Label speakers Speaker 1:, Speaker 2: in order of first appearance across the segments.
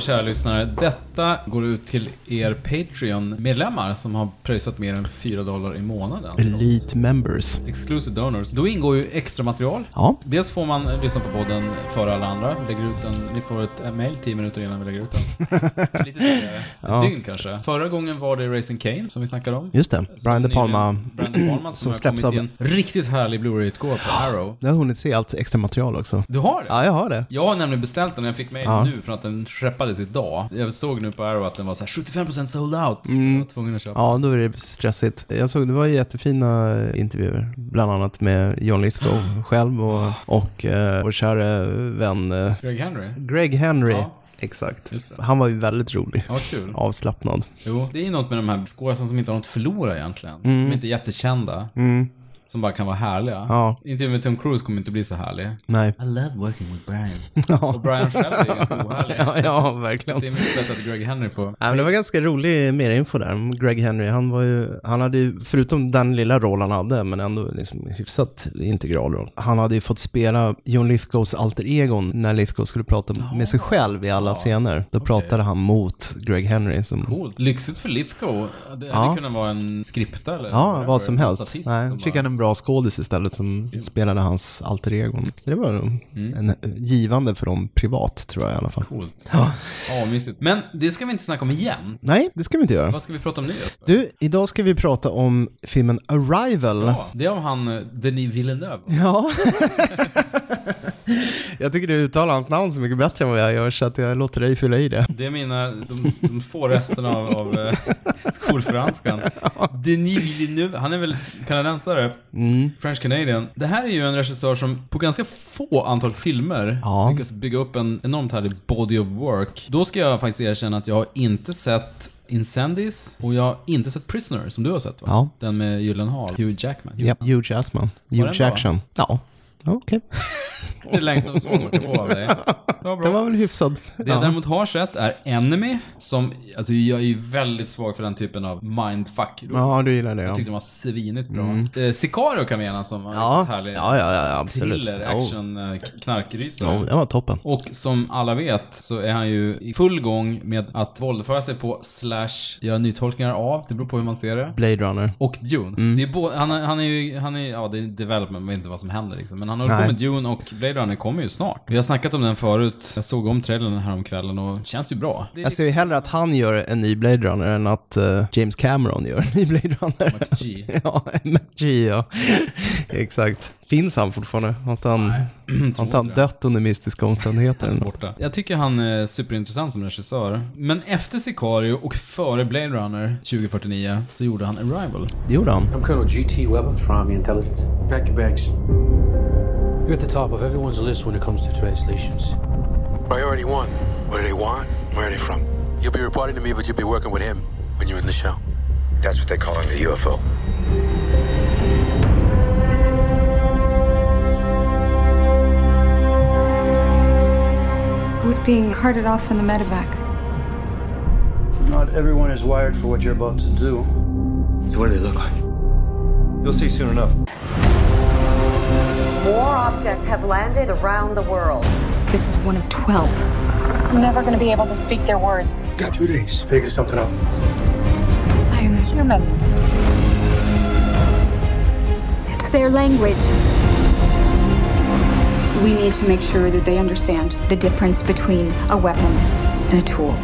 Speaker 1: kära lyssnare. Detta går ut till er Patreon-medlemmar som har pröjsat mer än 4 dollar i månaden. för oss.
Speaker 2: Elite members.
Speaker 1: Exclusive donors. Då ingår ju extra material.
Speaker 2: Ja.
Speaker 1: Dels får man eh, lyssna på podden före alla andra. Vi lägger ut den, ni får ett eh, mail 10 minuter innan vi lägger ut den. Lite tidigare. Ett dygn kanske. Förra gången var det Racing Kane som vi snackade om.
Speaker 2: Just det.
Speaker 1: Som
Speaker 2: Brian De
Speaker 1: nyligen-
Speaker 2: Palma.
Speaker 1: Brian De Palma
Speaker 2: som
Speaker 1: som,
Speaker 2: släpps
Speaker 1: släpps
Speaker 2: av-
Speaker 1: i en riktigt härlig Blu-ray-utgåva på Arrow.
Speaker 2: Jag har hunnit se allt extra material också.
Speaker 1: Du har det?
Speaker 2: Ja, jag har det.
Speaker 1: Jag har nämligen beställt den och jag fick mail
Speaker 2: Ja.
Speaker 1: nu från att den skeppades idag. Jag såg nu på Arrow att den var så här 75% sold out.
Speaker 2: Mm.
Speaker 1: Så jag var tvungen att köpa.
Speaker 2: Ja, då är det stressigt. Jag såg, det var jättefina intervjuer, bland annat med John Lithgow själv och, och eh, vår kära vän eh,
Speaker 1: Greg Henry.
Speaker 2: Greg Henry.
Speaker 1: Ja.
Speaker 2: Exakt.
Speaker 1: Just det.
Speaker 2: Han var ju väldigt rolig.
Speaker 1: Ja, kul.
Speaker 2: Avslappnad.
Speaker 1: Jo, det är något med de här skådespelarna som inte har något att förlora egentligen. Som inte är jättekända. Som bara kan vara härliga.
Speaker 2: Mm. Ja.
Speaker 1: Intervjun med Tom Cruise kommer inte bli så härlig.
Speaker 2: Nej.
Speaker 1: I love working with Brian. Och Brian själv är ganska ohärlig.
Speaker 2: Ja, ja
Speaker 1: Det är
Speaker 2: verkligen.
Speaker 1: mycket bättre att Greg Henry får...
Speaker 2: Nej, men det var ganska rolig mer info där om Greg Henry. Han, var ju, han hade ju, förutom den lilla roll han hade, men ändå liksom hyfsat integral roll. Han hade ju fått spela John Lithgows alter egon när Lithgow skulle prata med sig själv i alla scener. Då pratade han mot Greg Henry. Som,
Speaker 1: Coolt. Lyxigt för Lithgow. Det hade
Speaker 2: Ja.
Speaker 1: kunnat vara en skripta eller
Speaker 2: Ja,
Speaker 1: whatever.
Speaker 2: vad som
Speaker 1: En
Speaker 2: helst.
Speaker 1: statist
Speaker 2: Nej,
Speaker 1: som
Speaker 2: fick
Speaker 1: bara-
Speaker 2: han en bra skådis istället som spelade hans alter egon. Så det var nog
Speaker 1: Mm.
Speaker 2: en, eh, givande för dem privat, tror jag i alla fall.
Speaker 1: Coolt.
Speaker 2: Ja.
Speaker 1: Ja, mysigt. Men det ska vi inte snacka om igen.
Speaker 2: Nej, det ska vi inte göra.
Speaker 1: Vad ska vi prata om nu Jesper?
Speaker 2: Du, idag ska vi prata om filmen Arrival.
Speaker 1: Ja, det är om han eh, Denis Villeneuve.
Speaker 2: Ja. jag tycker du uttalar hans namn så mycket bättre än vad jag gör så att jag låter dig fylla i det.
Speaker 1: Det är mina, de, de få resterna av, av eh, skolfranskan. Denis Villeneuve, han är väl kanadensare? French Canadian. Det här är ju en regissör som på ganska få antal filmer
Speaker 2: Ja.
Speaker 1: lyckas bygga upp en enormt härlig body of work. Då ska jag faktiskt erkänna att jag har inte sett Incendies och jag har inte sett Prisoner som du har sett va?
Speaker 2: Ja.
Speaker 1: Den med Gyllenhaal, Hugh Jackman.
Speaker 2: Ja, Hugh Jackman.
Speaker 1: den
Speaker 2: Hugh
Speaker 1: bra?
Speaker 2: Jackman. Ja. Okej.
Speaker 1: Det är längst som man kan få av dig. Det var bra.
Speaker 2: Den var väl hyfsad.
Speaker 1: Det jag
Speaker 2: Ja.
Speaker 1: däremot har sett är Enemy, som, alltså jag är ju väldigt svag för den typen av mindfuck. Jag
Speaker 2: ja, du gillar det ja.
Speaker 1: tyckte den var svinigt bra. Eh, Sicario kan vi enas om, var en
Speaker 2: Ja,
Speaker 1: riktigt
Speaker 2: ja,
Speaker 1: härlig
Speaker 2: ja, ja absolut.
Speaker 1: thriller,
Speaker 2: Jo.
Speaker 1: action, eh, k- knarkrysare.
Speaker 2: Jo, den var toppen.
Speaker 1: Och som alla vet så är han ju i full gång med att våldföra sig på slash göra nytolkningar av, det beror på hur man ser det.
Speaker 2: Blade Runner.
Speaker 1: Och Dune.
Speaker 2: Mm.
Speaker 1: Det är både, han, är- han är ju, han är, ja det är development, man vet inte vad som händer liksom. Men han håller
Speaker 2: Nej.
Speaker 1: på med Dune och Blade Runner kommer ju snart. Vi har snackat om den förut, jag såg om trailern häromkvällen och känns ju bra. Det är
Speaker 2: Jag ser ju hellre att han gör en ny Blade Runner än att eh, James Cameron gör en ny Blade Runner.
Speaker 1: lite G.
Speaker 2: ja, McG ja. Exakt. Finns han fortfarande? Har inte han, har inte han
Speaker 1: förmodligen.
Speaker 2: dött under mystiska omständigheter? eller något?
Speaker 1: Borta. Jag tycker han är superintressant som regissör. Men efter Sicario och före Blade Runner 2049 så gjorde han Arrival.
Speaker 2: Det gjorde han.
Speaker 3: I'm Colonel G.T. Weber from Army Intelligence. Pack your bags. You're at the top of everyone's list when it comes to translations.
Speaker 4: Priority one. What do they want? Where are they from? You'll be reporting to me, but you'll be working with him when you're in the show.
Speaker 5: That's what they're calling the UFO.
Speaker 6: Who's being carted off in the medevac?
Speaker 7: Not everyone is wired for what you're about to do.
Speaker 5: So what do they look like? You'll see soon enough.
Speaker 8: More objects have landed around the world.
Speaker 9: This is one of 12.
Speaker 6: I'm never gonna be able to speak their words.
Speaker 3: Got two days. Figure something out.
Speaker 6: I am human.
Speaker 9: It's their language. We need to make sure that they understand the difference between a weapon and a tool.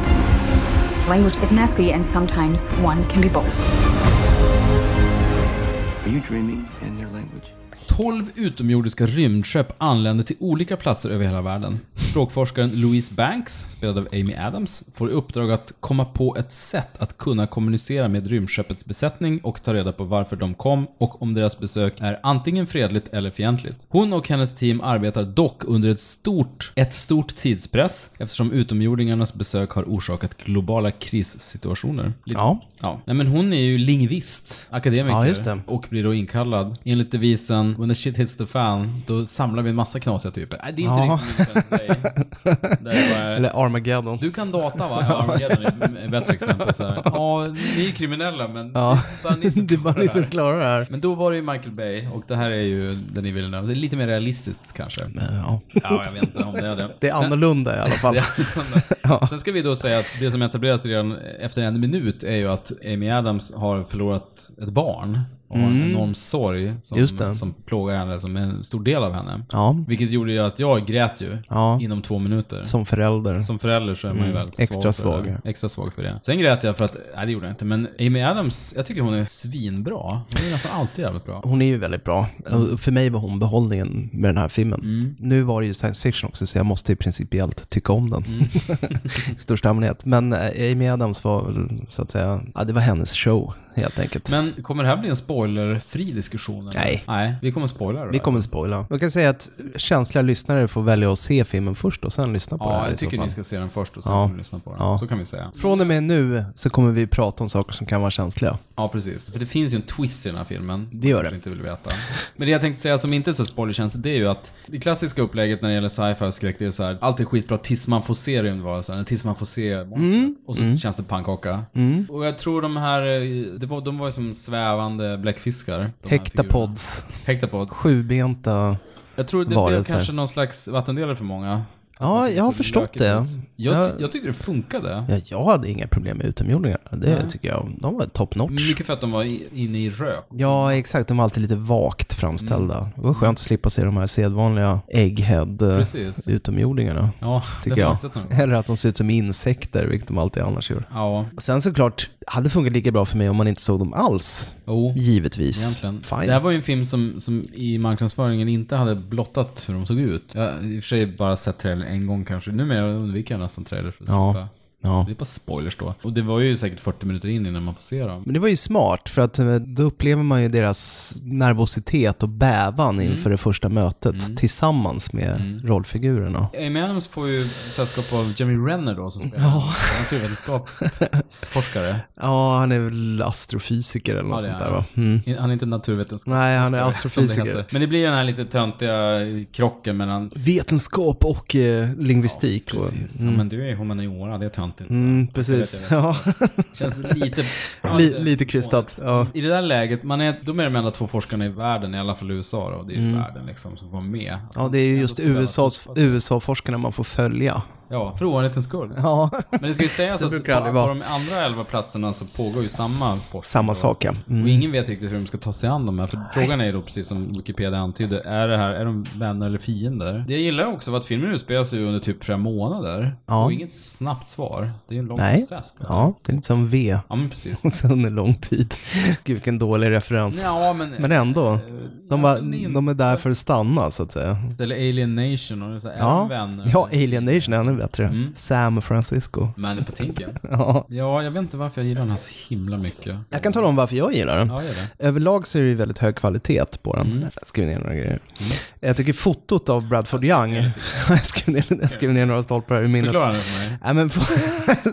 Speaker 9: Language is messy, and sometimes one can be both.
Speaker 5: Are you dreaming in their language?
Speaker 1: 12 utomjordiska rymdskepp anländer till olika platser över hela världen. Språkforskaren Louise Banks, spelad av Amy Adams, får i uppdrag att komma på ett sätt att kunna kommunicera med rymdskeppets besättning och ta reda på varför de kom och om deras besök är antingen fredligt eller fientligt. Hon och hennes team arbetar dock under ett stort, ett stort tidspress eftersom utomjordingarnas besök har orsakat globala krissituationer. Lite-
Speaker 2: Ja.
Speaker 1: ja. Nej men hon är ju lingvist, akademiker
Speaker 2: Ja, just det.
Speaker 1: och blir då inkallad. Enligt devisen “When the shit hits the fan”, då samlar vi en massa knasiga typer. Nej, det är inte
Speaker 2: Ja.
Speaker 1: riktigt som en svensk grej. Där det bara-
Speaker 2: Eller Armageddon.
Speaker 1: Du kan data va? Ja, Armageddon är ett bättre exempel. Så här. Ja, ni är kriminella men
Speaker 2: Ja.
Speaker 1: det är bara ni som
Speaker 2: det är bara ni som
Speaker 1: klarar det.
Speaker 2: klarar det här.
Speaker 1: Men då var det ju Michael Bay och det här är ju Denis Villeneuve. Det är lite mer realistiskt kanske.
Speaker 2: Ja.
Speaker 1: Ja, jag vet inte om det är det.
Speaker 2: Det är
Speaker 1: Sen-
Speaker 2: annorlunda i alla fall.
Speaker 1: det är annorlunda. Sen ska vi då säga att det som etableras redan efter en minut är ju att Amy Adams har förlorat ett barn. Och har en enorm sorg som,
Speaker 2: Mm. Just det.
Speaker 1: som plågar henne, som är en stor del av henne.
Speaker 2: Ja.
Speaker 1: Vilket gjorde ju att jag grät ju
Speaker 2: Ja.
Speaker 1: inom två minuter.
Speaker 2: Som förälder.
Speaker 1: Som förälder så är man ju väldigt
Speaker 2: Extra
Speaker 1: svag. för
Speaker 2: svag,
Speaker 1: det. Extra svag för det. Sen grät jag för att, nej det gjorde jag inte, men Amy Adams, jag tycker hon är svinbra. Hon är nästan alltid jävligt bra.
Speaker 2: Hon är ju väldigt bra.
Speaker 1: Mm.
Speaker 2: Och För mig var hon behållningen med den här filmen. Nu var det ju science fiction också, så jag måste ju principiellt tycka om den.
Speaker 1: Mm.
Speaker 2: I största allmänhet. Men eh, Amy Adams var väl, så att säga, ja, det var hennes show helt enkelt.
Speaker 1: Men kommer det här bli en spoilerfri diskussion? Eller?
Speaker 2: Nej.
Speaker 1: Nej, vi kommer spoila då.
Speaker 2: Vi kommer spoila. Jag kan säga att känsliga lyssnare får välja att se filmen först och sen lyssna på det
Speaker 1: Ja,
Speaker 2: här i
Speaker 1: jag
Speaker 2: så
Speaker 1: tycker
Speaker 2: fall.
Speaker 1: ni ska se den först och sen
Speaker 2: Ja.
Speaker 1: kommer ni lyssna på den.
Speaker 2: Ja.
Speaker 1: Så kan vi säga.
Speaker 2: Från och med nu så kommer vi prata om saker som kan vara känsliga.
Speaker 1: Ja, precis. För det finns ju en twist i den här filmen. som
Speaker 2: Det
Speaker 1: jag
Speaker 2: gör
Speaker 1: kanske
Speaker 2: det.
Speaker 1: inte vill veta. Men det jag tänkte säga som inte är så spoilerkänsligt, det är ju att det klassiska upplägget när det gäller sci-fi och skräck, det är ju så här, allt är skitbra tills man får se rymdvarelsen, eller tills man får se monstret.
Speaker 2: Mm.
Speaker 1: Och så känns det pannkaka. Och jag tror de här, eh, det var, de var ju som svävande bläckfiskar. de här figurerna.
Speaker 2: Hektapods,
Speaker 1: Hektapods.
Speaker 2: sjubenta.
Speaker 1: Jag tror det blev
Speaker 2: Varelser.
Speaker 1: kanske någon slags vattendelare för många. Alltså,
Speaker 2: Ja, jag har förstått det.
Speaker 1: Jag, ty-
Speaker 2: Jag-
Speaker 1: jag tyckte det funkade.
Speaker 2: Ja, jag hade inga problem med utomjordingar. Det tycker jag. De var top notch.
Speaker 1: Mycket för att de var i- inne i rök.
Speaker 2: Ja, exakt. De var alltid lite vagt framställda.
Speaker 1: Mm.
Speaker 2: Det var skönt att slippa se de här sedvanliga
Speaker 1: Precis.
Speaker 2: egghead-utomjordingarna.
Speaker 1: Ja, det
Speaker 2: tycker
Speaker 1: har jag
Speaker 2: jag.
Speaker 1: sett någon gång.
Speaker 2: Eller att de ser ut som insekter, vilket de alltid annars gör.
Speaker 1: Ja,
Speaker 2: Och sen såklart, hade funkat lika bra för mig om man inte såg dem alls.
Speaker 1: jo.
Speaker 2: Givetvis.
Speaker 1: Egentligen.
Speaker 2: Fine.
Speaker 1: Det här var ju en film som, som i marknadsföringen inte hade blottat hur de såg ut. Jag har i och för sig bara sett trailern en gång kanske. Numera undviker jag nästan trailer för att
Speaker 2: Ja.
Speaker 1: slippa.
Speaker 2: Ja.
Speaker 1: Det är bara spoilers då. Och det var ju säkert 40 minuter in innan man får se dem.
Speaker 2: Men det var ju smart, för att eh, då upplever man ju deras nervositet och bävan
Speaker 1: Mm.
Speaker 2: inför det första mötet tillsammans med rollfigurerna.
Speaker 1: Amy Adams får ju sällskap av Jeremy Renner då som spelar ja. naturvetenskapsforskare.
Speaker 2: Ja, han är väl astrofysiker eller något
Speaker 1: Ja, det
Speaker 2: sånt
Speaker 1: är
Speaker 2: där
Speaker 1: han.
Speaker 2: va? Mm.
Speaker 1: Han är inte naturvetenskap.
Speaker 2: Nej, han är
Speaker 1: som det
Speaker 2: astrofysiker.
Speaker 1: heter. Men det blir den här lite töntiga krocken mellan...
Speaker 2: Vetenskap och eh, lingvistik. och,
Speaker 1: Precis. Ja, men du är humaniora, det är töntigt.
Speaker 2: mm, precis.
Speaker 1: Jag vet, jag
Speaker 2: Ja.
Speaker 1: Känns lite... ja,
Speaker 2: Li- lite krystat. Ja.
Speaker 1: I det där läget, man är, de är de enda två forskarna i världen, i alla fall i USA då, det är ju världen liksom som var med. Alltså,
Speaker 2: Mm. ja, det är ju just
Speaker 1: ändå så
Speaker 2: USAs,
Speaker 1: jävla tufft.
Speaker 2: USA-forskarna man får följa.
Speaker 1: Ja, för ovanlighetens skull.
Speaker 2: Ja,
Speaker 1: Men det ska ju sägas
Speaker 2: Så
Speaker 1: att
Speaker 2: brukar
Speaker 1: på,
Speaker 2: det aldrig
Speaker 1: på
Speaker 2: vara.
Speaker 1: de andra elva platserna så pågår ju samma forskning.
Speaker 2: samma
Speaker 1: då.
Speaker 2: sak ja. Mm.
Speaker 1: Och ingen vet riktigt hur de ska ta sig an de här, för frågan är ju då precis som Wikipedia antyder, är det här, är de vänner eller fiender? Det jag gillar också var att filmen utspelar sig under typ flera månader.
Speaker 2: Ja.
Speaker 1: Och inget snabbt svar. Det är ju en lång
Speaker 2: Nej.
Speaker 1: process.
Speaker 2: Ja, det är lite som V.
Speaker 1: Ja, men precis.
Speaker 2: Också under lång tid. Gud, vilken dålig referens.
Speaker 1: Ja, men...
Speaker 2: Men
Speaker 1: Eh,
Speaker 2: ändå. De, var,
Speaker 1: egentligen
Speaker 2: de är där för att stanna, så att säga.
Speaker 1: Eller Alien Nation och det är så här, är de
Speaker 2: Ja,
Speaker 1: vänner? Mm.
Speaker 2: ja Alien Nation är ännu bättre. Sam Francisco.
Speaker 1: Men på tinken.
Speaker 2: Ja.
Speaker 1: Ja, jag vet inte varför jag gillar den här så himla mycket.
Speaker 2: Jag kan tala om varför jag gillar den.
Speaker 1: Ja, Mm. gör det.
Speaker 2: Överlag så är det ju väldigt hög kvalitet på den. Jag skrev ner några grejer.
Speaker 1: Mm.
Speaker 2: Jag tycker fotot av Bradford Young, jag skrev ner, jag skrev ner några stolpar här i minnet.
Speaker 1: Förklara den för mig.
Speaker 2: Nej, men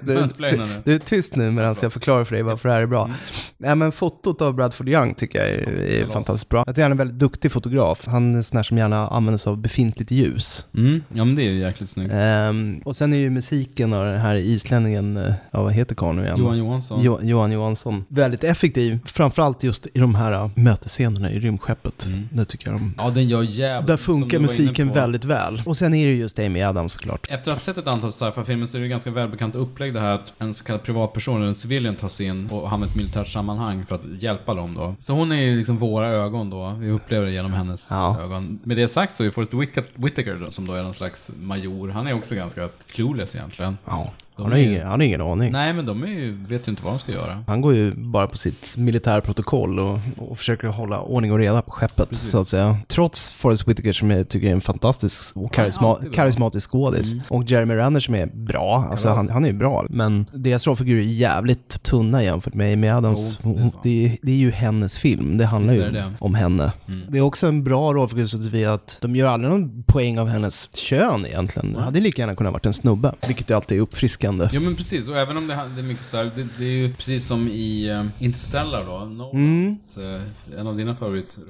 Speaker 2: du,
Speaker 1: Mansplaina nu.
Speaker 2: du är tyst nu medan jag förklarar för dig varför det här är bra.
Speaker 1: Mm.
Speaker 2: Nej, men fotot av Bradford Young tycker jag är, är fantastiskt bra. Jag tycker han är en väldigt duktig fotograf. Han är en sån här som gärna använder sig av befintligt ljus.
Speaker 1: Mm, ja men det är ju jäkligt snyggt.
Speaker 2: Ehm, och sen är ju musiken och den här islänningen, eh, ja vad heter karln nu igen?
Speaker 1: Johan Johansson.
Speaker 2: Jo, Johan Johansson. Väldigt effektiv, framförallt just i de här eh, mötesscenerna i rymdskeppet. Det tycker jag de...
Speaker 1: Ja, den gör jävligt...
Speaker 2: Där
Speaker 1: som Mm. du
Speaker 2: funkar
Speaker 1: var inne
Speaker 2: musiken
Speaker 1: på.
Speaker 2: väldigt väl. Och sen är det just Amy Adams såklart.
Speaker 1: Efter att ha sett ett antal sci-fi-filmer så är det ju ganska välbekant upplägg det här att en så kallad privatperson eller en civilian tas in och hamnar i ett militärt sammanhang för att hjälpa dem då. Så hon är ju liksom våra ögon då. Vi upplever det genom hennes
Speaker 2: Ja.
Speaker 1: ögon. Med det sagt så är Forrest Whitaker- Whitaker då, som då är någon slags major, han är också ganska clueless egentligen.
Speaker 2: Ja.
Speaker 1: De
Speaker 2: Han har
Speaker 1: är-
Speaker 2: ingen, han har ingen aning.
Speaker 1: Nej, men de är ju, vet ju inte vad de ska göra.
Speaker 2: Han går ju bara på sitt militärprotokoll och, och försöker hålla ordning och reda på skeppet, så att säga. Trots Forrest Whitaker som jag tycker är en fantastisk och karisma,
Speaker 1: alltid bra. Mm.
Speaker 2: karismatisk skådis. Och Jeremy Renner som är bra, alltså han, han är ju bra. Men deras rollfigurer är jävligt tunna jämfört med Amy Adams.
Speaker 1: Jo, det är
Speaker 2: Hon-
Speaker 1: sant.
Speaker 2: det, är, det är ju hennes film, det handlar ju
Speaker 1: Visst är det. Mm.
Speaker 2: om henne. Det är också en bra rollfigur så tillvida att de gör aldrig någon poäng av hennes kön egentligen. Det hade lika gärna kunnat varit en snubbe, vilket ju alltid är överraskande.
Speaker 1: Ja men precis, och även om det, här- det är mycket så här, det, det är ju precis som i eh, Interstellar då, Nolans, eh, en av dina favoriter.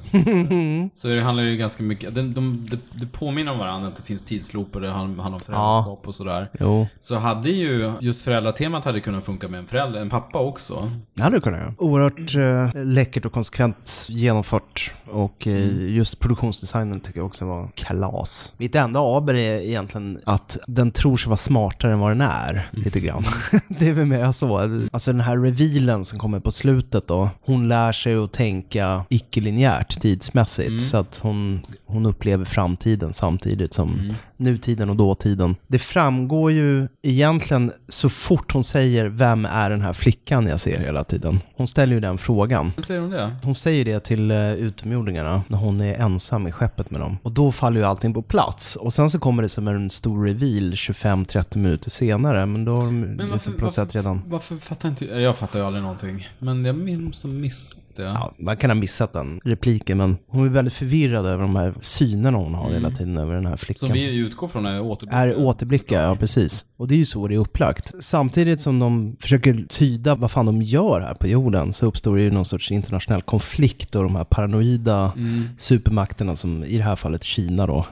Speaker 1: så det handlar ju ganska mycket, de, de, de, det påminner om varandra, att det finns tidslooper, det handlar handlar om föräldraskap och sådär.
Speaker 2: Jo.
Speaker 1: Så hade ju, just föräldratemat hade kunnat funka med en förälder, en pappa också.
Speaker 2: Det hade du kunnat göra. Oerhört eh, läckert och konsekvent genomfört. Och eh, just produktionsdesignen tycker jag också var kalas. Mitt enda aber är egentligen att den tror sig vara smartare än vad den är. Lite grann. det är väl mer så. Alltså den här revealen som kommer på slutet då. Hon lär sig att tänka icke-linjärt tidsmässigt. Så att hon, hon upplever framtiden samtidigt som nutiden och dåtiden. Det framgår ju egentligen så fort hon säger vem är den här flickan jag ser hela tiden. Hon ställer ju den frågan.
Speaker 1: Vad säger du om det?
Speaker 2: Hon säger det till eh, utomjordingarna när hon är ensam i skeppet med dem. Och då faller ju allting på plats. Och sen så kommer det som en stor reveal 25-30 minuter senare. Men då har de liksom processat redan.
Speaker 1: varför fattar inte jag, fattar ju aldrig någonting. Men jag min- måste ha missat det.
Speaker 2: Ja, man kan ha missat den repliken, men hon är väldigt förvirrad över de här synerna hon har hela tiden över den här flickan.
Speaker 1: Mm. Som vi utgår från är återblickar.
Speaker 2: är återblickar, ja precis. Och det är ju så det är upplagt. Samtidigt som de försöker tyda vad fan de gör här på jorden så uppstår det ju någon sorts internationell konflikt och de här paranoida supermakterna som i det här fallet Kina då,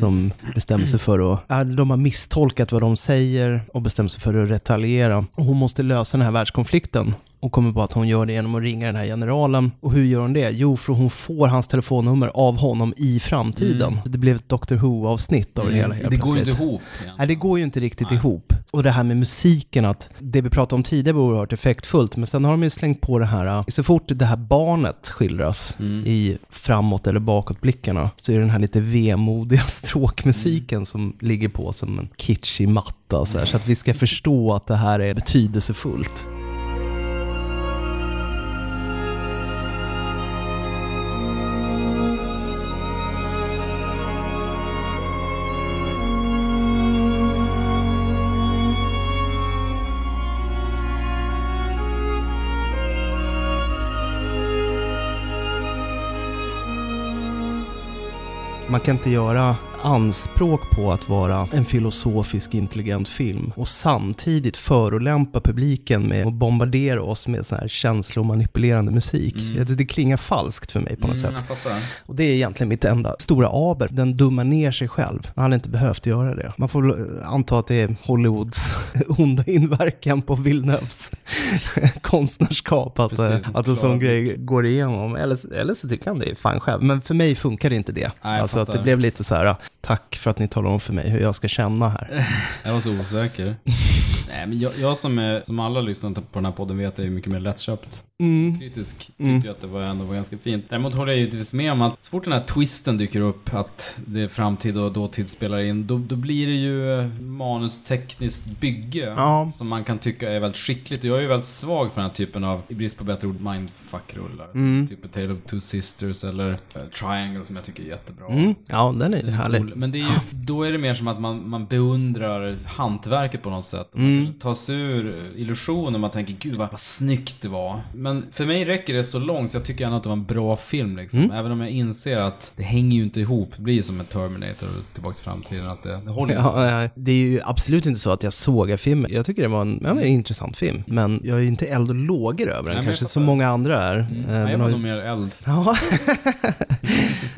Speaker 2: som bestämmer sig för att, Mm. ja, de har misstolkat vad de säger och bestämmer sig för att retaliera. Och hon måste lösa den här världskonflikten och kommer på att hon gör det genom att ringa den här generalen. Och hur gör hon det? Jo, för hon får hans telefonnummer av honom i framtiden. Det blev ett Doctor Who-avsnitt av Mm. det hela. helt
Speaker 1: Äh, Det går ju
Speaker 2: plötsligt.
Speaker 1: inte ihop egentligen.
Speaker 2: Nej, det går ju inte riktigt ihop. Och det här med musiken, att det vi pratade om tidigare var oerhört effektfullt, men sen har de ju slängt på det här, äh, så fort det här barnet skildras i framåt eller bakåtblickarna, så är det den här lite vemodiga stråkmusiken som ligger på som en kitschig matta, så, här, så att vi ska förstå att det här är betydelsefullt. Man kan inte göra anspråk på att vara en filosofisk intelligent film och samtidigt förolämpa publiken med att bombardera oss med sån här känslomanipulerande musik. Det, det klingar falskt för mig på något
Speaker 1: Mm,
Speaker 2: sätt.
Speaker 1: jag fattar.
Speaker 2: Och det är egentligen mitt enda stora aber. Den dummar ner sig själv. Han hade inte behövt göra det. Man får väl, eh, anta att det är Hollywoods onda inverkan på Villeneuves konstnärskap att,
Speaker 1: Precis,
Speaker 2: eh, att en sån
Speaker 1: såklart.
Speaker 2: grej går igenom. Eller, eller så tycker han det är fan själv. Men för mig funkar inte det.
Speaker 1: Nej, jag
Speaker 2: alltså att det
Speaker 1: fattar.
Speaker 2: blev lite så här, tack för att ni talar om för mig hur jag ska känna här.
Speaker 1: Jag var så osäker. Nej, men jag, jag som, är, som alla lyssnare på den här podden vet är ju mycket mer lättköpt.
Speaker 2: Mm.
Speaker 1: Kritisk tyckte jag att det var, ändå var ganska fint. Däremot håller jag givetvis med om att så fort den här twisten dyker upp, att det är framtid och dåtid spelar in, då, då blir det ju eh, manustekniskt bygge
Speaker 2: Ja.
Speaker 1: som man kan tycka är väldigt skickligt. Och jag är ju väldigt svag för den här typen av, i brist på bättre ord, mindfuck-rullar.
Speaker 2: Mm.
Speaker 1: Så Typ A Tale of Two Sisters eller eh, Triangle som jag tycker är jättebra.
Speaker 2: Mm. Ja, den är härlig.
Speaker 1: Cool. Men det är ju, då är det mer som att man, man beundrar hantverket på något sätt. Och
Speaker 2: Mm.
Speaker 1: Man kanske tar sig ur illusionen och man tänker gud vad, vad snyggt det var. Men för mig räcker det så långt så jag tycker ändå att det var en bra film liksom.
Speaker 2: Mm.
Speaker 1: Även om jag inser att det hänger ju inte ihop. Det blir ju som en Terminator och Tillbaka till framtiden. Att det, det håller inte.
Speaker 2: Ja, nej, det är ju absolut inte så att jag sågar filmen. Jag tycker det var en, ja, det är en intressant film. Men jag är ju inte eld och lågor över den,
Speaker 1: men
Speaker 2: kanske
Speaker 1: jag
Speaker 2: så
Speaker 1: fattar. Mm.
Speaker 2: många andra är. Eh,
Speaker 1: Nej, jag var
Speaker 2: men har-
Speaker 1: nog mer eld.
Speaker 2: Ja,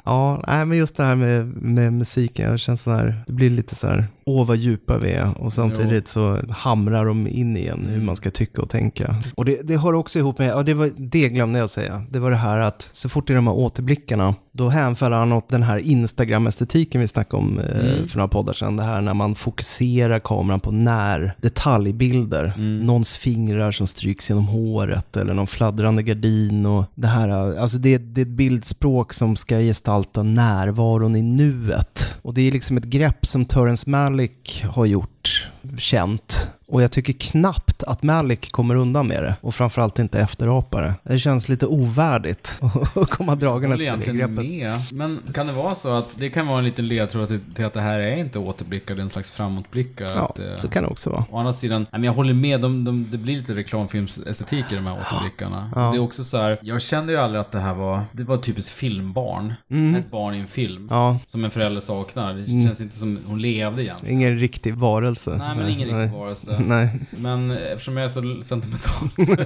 Speaker 2: ja nej, men just det här med, med musiken, jag känner så här, det blir lite så här, åh vad djupa vi är. Och samtidigt så hamrar de in igen hur man ska tycka och tänka. Mm. Och det, det hör också ihop med, ja, det, var, det glömde jag säga, det var det här att så fort det är de här återblickarna, då hänfaller han åt den här Instagram-estetiken vi snackade om eh, för några poddar sedan. Det här när man fokuserar kameran på när, detaljbilder,
Speaker 1: Mm.
Speaker 2: någons fingrar som stryks genom håret eller någon fladdrande gardin och det här, alltså det, det är ett bildspråk som ska gestalta närvaron i nuet. Och det är liksom ett grepp som Terrence Malick har gjort känt. Och jag tycker knappt att Malik kommer undan med det. Och framförallt inte efterapare. Det känns lite ovärdigt att komma
Speaker 1: Jag
Speaker 2: dragandes
Speaker 1: håller
Speaker 2: med det
Speaker 1: egentligen
Speaker 2: greppet.
Speaker 1: med. Men kan det vara så att det kan vara en liten ledtråd till, till att det här är inte återblickar, det är en slags framåtblickar?
Speaker 2: Ja,
Speaker 1: att, eh,
Speaker 2: så kan det också vara.
Speaker 1: Å andra sidan, nej, men jag håller med, de, de, det blir lite reklamfilmsestetik i de här återblickarna. Det är också så här, jag kände ju aldrig att det här var, det var ett typiskt filmbarn. Ett barn i en film.
Speaker 2: Mm. Ja. Mm.
Speaker 1: Som en förälder saknar. Det känns inte som hon levde igen.
Speaker 2: Ingen riktig varelse.
Speaker 1: Nej, men ingen riktig varelse.
Speaker 2: Nej.
Speaker 1: Men eftersom jag är så sentimental så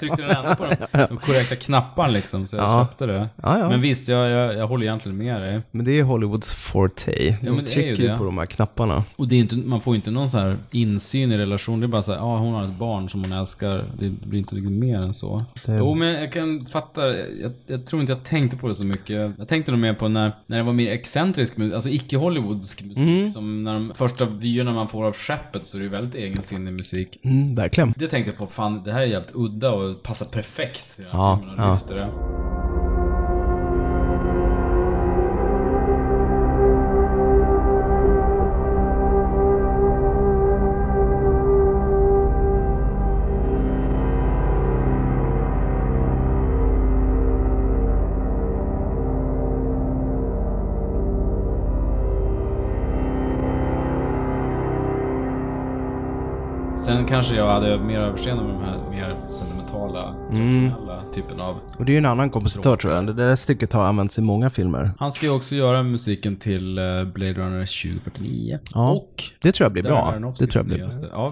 Speaker 1: tryckte den ändå på de, de korrekta knapparna liksom, så jag
Speaker 2: Ja.
Speaker 1: köpte det.
Speaker 2: Ja, ja.
Speaker 1: Men visst, jag, jag, jag håller egentligen med dig.
Speaker 2: Men det är Hollywoods forte. De
Speaker 1: men det är ju
Speaker 2: trycker ju
Speaker 1: det.
Speaker 2: på de här knapparna.
Speaker 1: Och det är inte, man får ju inte någon så här insyn i relation. Det är bara så här, ja hon har ett barn som hon älskar. Det blir inte riktigt mer än så. Jo men jag kan fatta, jag, jag tror inte jag tänkte på det så mycket. Jag tänkte nog mer på när, när det var mer excentrisk musik, alltså icke-Hollywoodsk musik.
Speaker 2: Mhm.
Speaker 1: Som när de första vyerna man får av skeppet så är det ju väldigt egensinnig musik.
Speaker 2: Mm, verkligen.
Speaker 1: Det tänkte jag på, fan det här är jävligt udda och passar perfekt till den här
Speaker 2: Ja,
Speaker 1: filmen och
Speaker 2: ja.
Speaker 1: lyfter det. Sen kanske jag hade mer överseende med de här mer sentimentala,
Speaker 2: Mm.
Speaker 1: traditionella typen av
Speaker 2: Och det är ju en annan kompositör tror jag. Det där stycket har använts i många filmer.
Speaker 1: Han ska ju också göra musiken till eh, Blade Runner 2049.
Speaker 2: Ja.
Speaker 1: Och
Speaker 2: Det tror jag blir bra.
Speaker 1: Darren
Speaker 2: Det tror jag
Speaker 1: Aronofskys
Speaker 2: blir
Speaker 1: nyaste. Ja,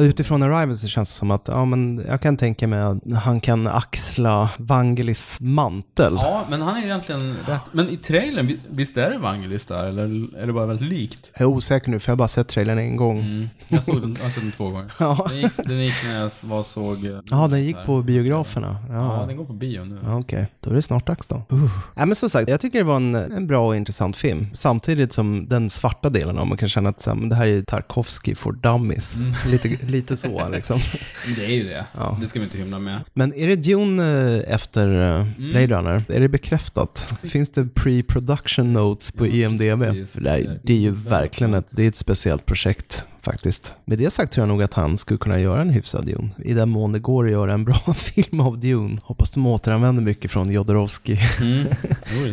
Speaker 1: visst.
Speaker 2: Utifrån Arrival så känns det som att ja, men jag kan tänka mig att han kan axla Vangelis mantel.
Speaker 1: Ja, men han är egentligen rätt. Men i trailern, vi- visst är det Vangelis där? Eller är det bara väldigt likt?
Speaker 2: Jag är osäker nu för jag har bara sett trailern en gång.
Speaker 1: Jag såg den, jag har sett den två gånger.
Speaker 2: Ja.
Speaker 1: Den, gick, den gick när jag var, såg... eh,
Speaker 2: Ja, den gick på biograferna.
Speaker 1: Ja,
Speaker 2: Ja.
Speaker 1: den går på bio nu.
Speaker 2: Ja, Okej, då är det snart dags då. Uh. Nej, men som sagt, jag tycker det var en, en bra och intressant film. Samtidigt som den svarta delen av man kan känna att så här, men det här är ju Tarkovsky for dummies. Lite, lite så liksom.
Speaker 1: Men det är ju det. Det ska vi inte hymla med.
Speaker 2: Men är det Dune eh, efter eh,
Speaker 1: Mm.
Speaker 2: Blade Runner? Är det bekräftat? Finns det pre-production notes på IMDB?
Speaker 1: precis.
Speaker 2: För det, är, det är ju verkligen ett, det är ett speciellt projekt faktiskt. Med det sagt tror jag nog att han skulle kunna göra en hyfsad Dune. I den mån det går att göra en bra film av Dune. Hoppas de återanvänder mycket från Jodorowsky-filmen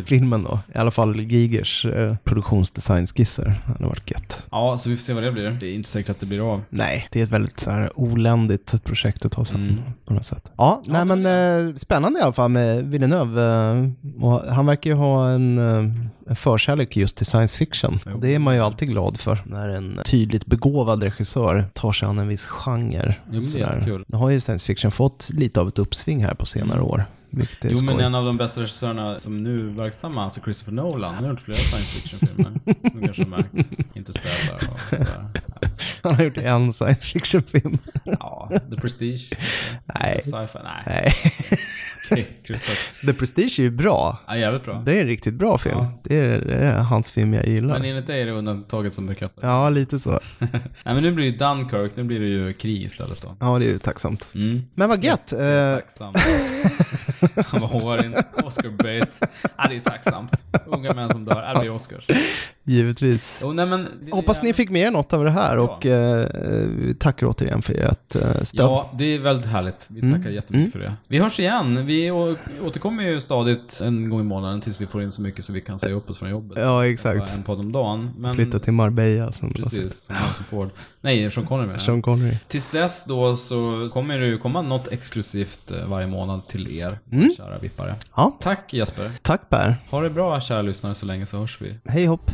Speaker 1: Mm. Jo, det-
Speaker 2: då. I alla fall Gigers eh, produktionsdesignskisser. Det hade varit gött.
Speaker 1: Ja, så vi får se vad det blir. Det är inte säkert att det blir av.
Speaker 2: Nej, det är ett väldigt så här oländigt projekt att ta sig an på något sätt. Ja, nej men eh, spännande i alla fall med Villeneuve. Eh, och han verkar ju ha en, eh, en förkärlek just till science fiction. Det är man ju alltid glad för när en tydligt begåvad regissör tar sig an en viss genre.
Speaker 1: men det är
Speaker 2: Sådär.
Speaker 1: jättekul.
Speaker 2: Nu har ju science fiction fått lite av ett uppsving här på senare år. Vilket är
Speaker 1: Jo, men
Speaker 2: skoj.
Speaker 1: en av de bästa regissörerna som nu är verksamma, alltså Christopher Nolan, han har gjort flera science fiction-filmer. Som kanske har märkt. Interstellar och sådär.
Speaker 2: Han har gjort en science fiction-film.
Speaker 1: Ja, The Prestige.
Speaker 2: Nej.
Speaker 1: Sci-fi. Nej.
Speaker 2: Nej,
Speaker 1: Okej, Christopher.
Speaker 2: The Prestige är ju bra.
Speaker 1: Ja, jävligt bra.
Speaker 2: Det är en riktigt bra film. Det, är, det är hans film jag gillar.
Speaker 1: Men enligt dig är det undantaget som bekräftar.
Speaker 2: Ja, lite så.
Speaker 1: Nej, men nu blir det ju Dunkirk. Nu blir det ju krig istället då.
Speaker 2: Ja, det är ju tacksamt.
Speaker 1: Mm.
Speaker 2: Men vad gött. Eh,
Speaker 1: Tacksamt. Han var hårig. Oscar bait. Ja, det är tacksamt. Unga män som dör. Ja, det blir Oscars.
Speaker 2: givetvis.
Speaker 1: Jo, nej, men, det är
Speaker 2: Hoppas ni
Speaker 1: jävligt-
Speaker 2: fick med er något av det här och eh, vi tackar återigen för ert eh, stöd.
Speaker 1: Ja, det är väldigt härligt. Vi tackar
Speaker 2: Mm.
Speaker 1: jättemycket för det. Vi hörs igen. Vi å- återkommer ju stadigt en gång i månaden tills vi får in så mycket så vi kan säga upp oss från jobbet.
Speaker 2: Ja,
Speaker 1: Bara
Speaker 2: exakt.
Speaker 1: En podd om dagen. Men
Speaker 2: Flytta till Marbella som
Speaker 1: mm. Precis, som Harrison Ford. Nej, Sean Connery menar jag.
Speaker 2: Sean Connery.
Speaker 1: Tills dess då så kommer det ju komma något exklusivt eh, varje månad till er, kära vippare.
Speaker 2: Ja.
Speaker 1: Tack Jesper.
Speaker 2: Tack Per.
Speaker 1: Ha det bra kära lyssnare så länge så hörs vi.
Speaker 2: Hej hopp.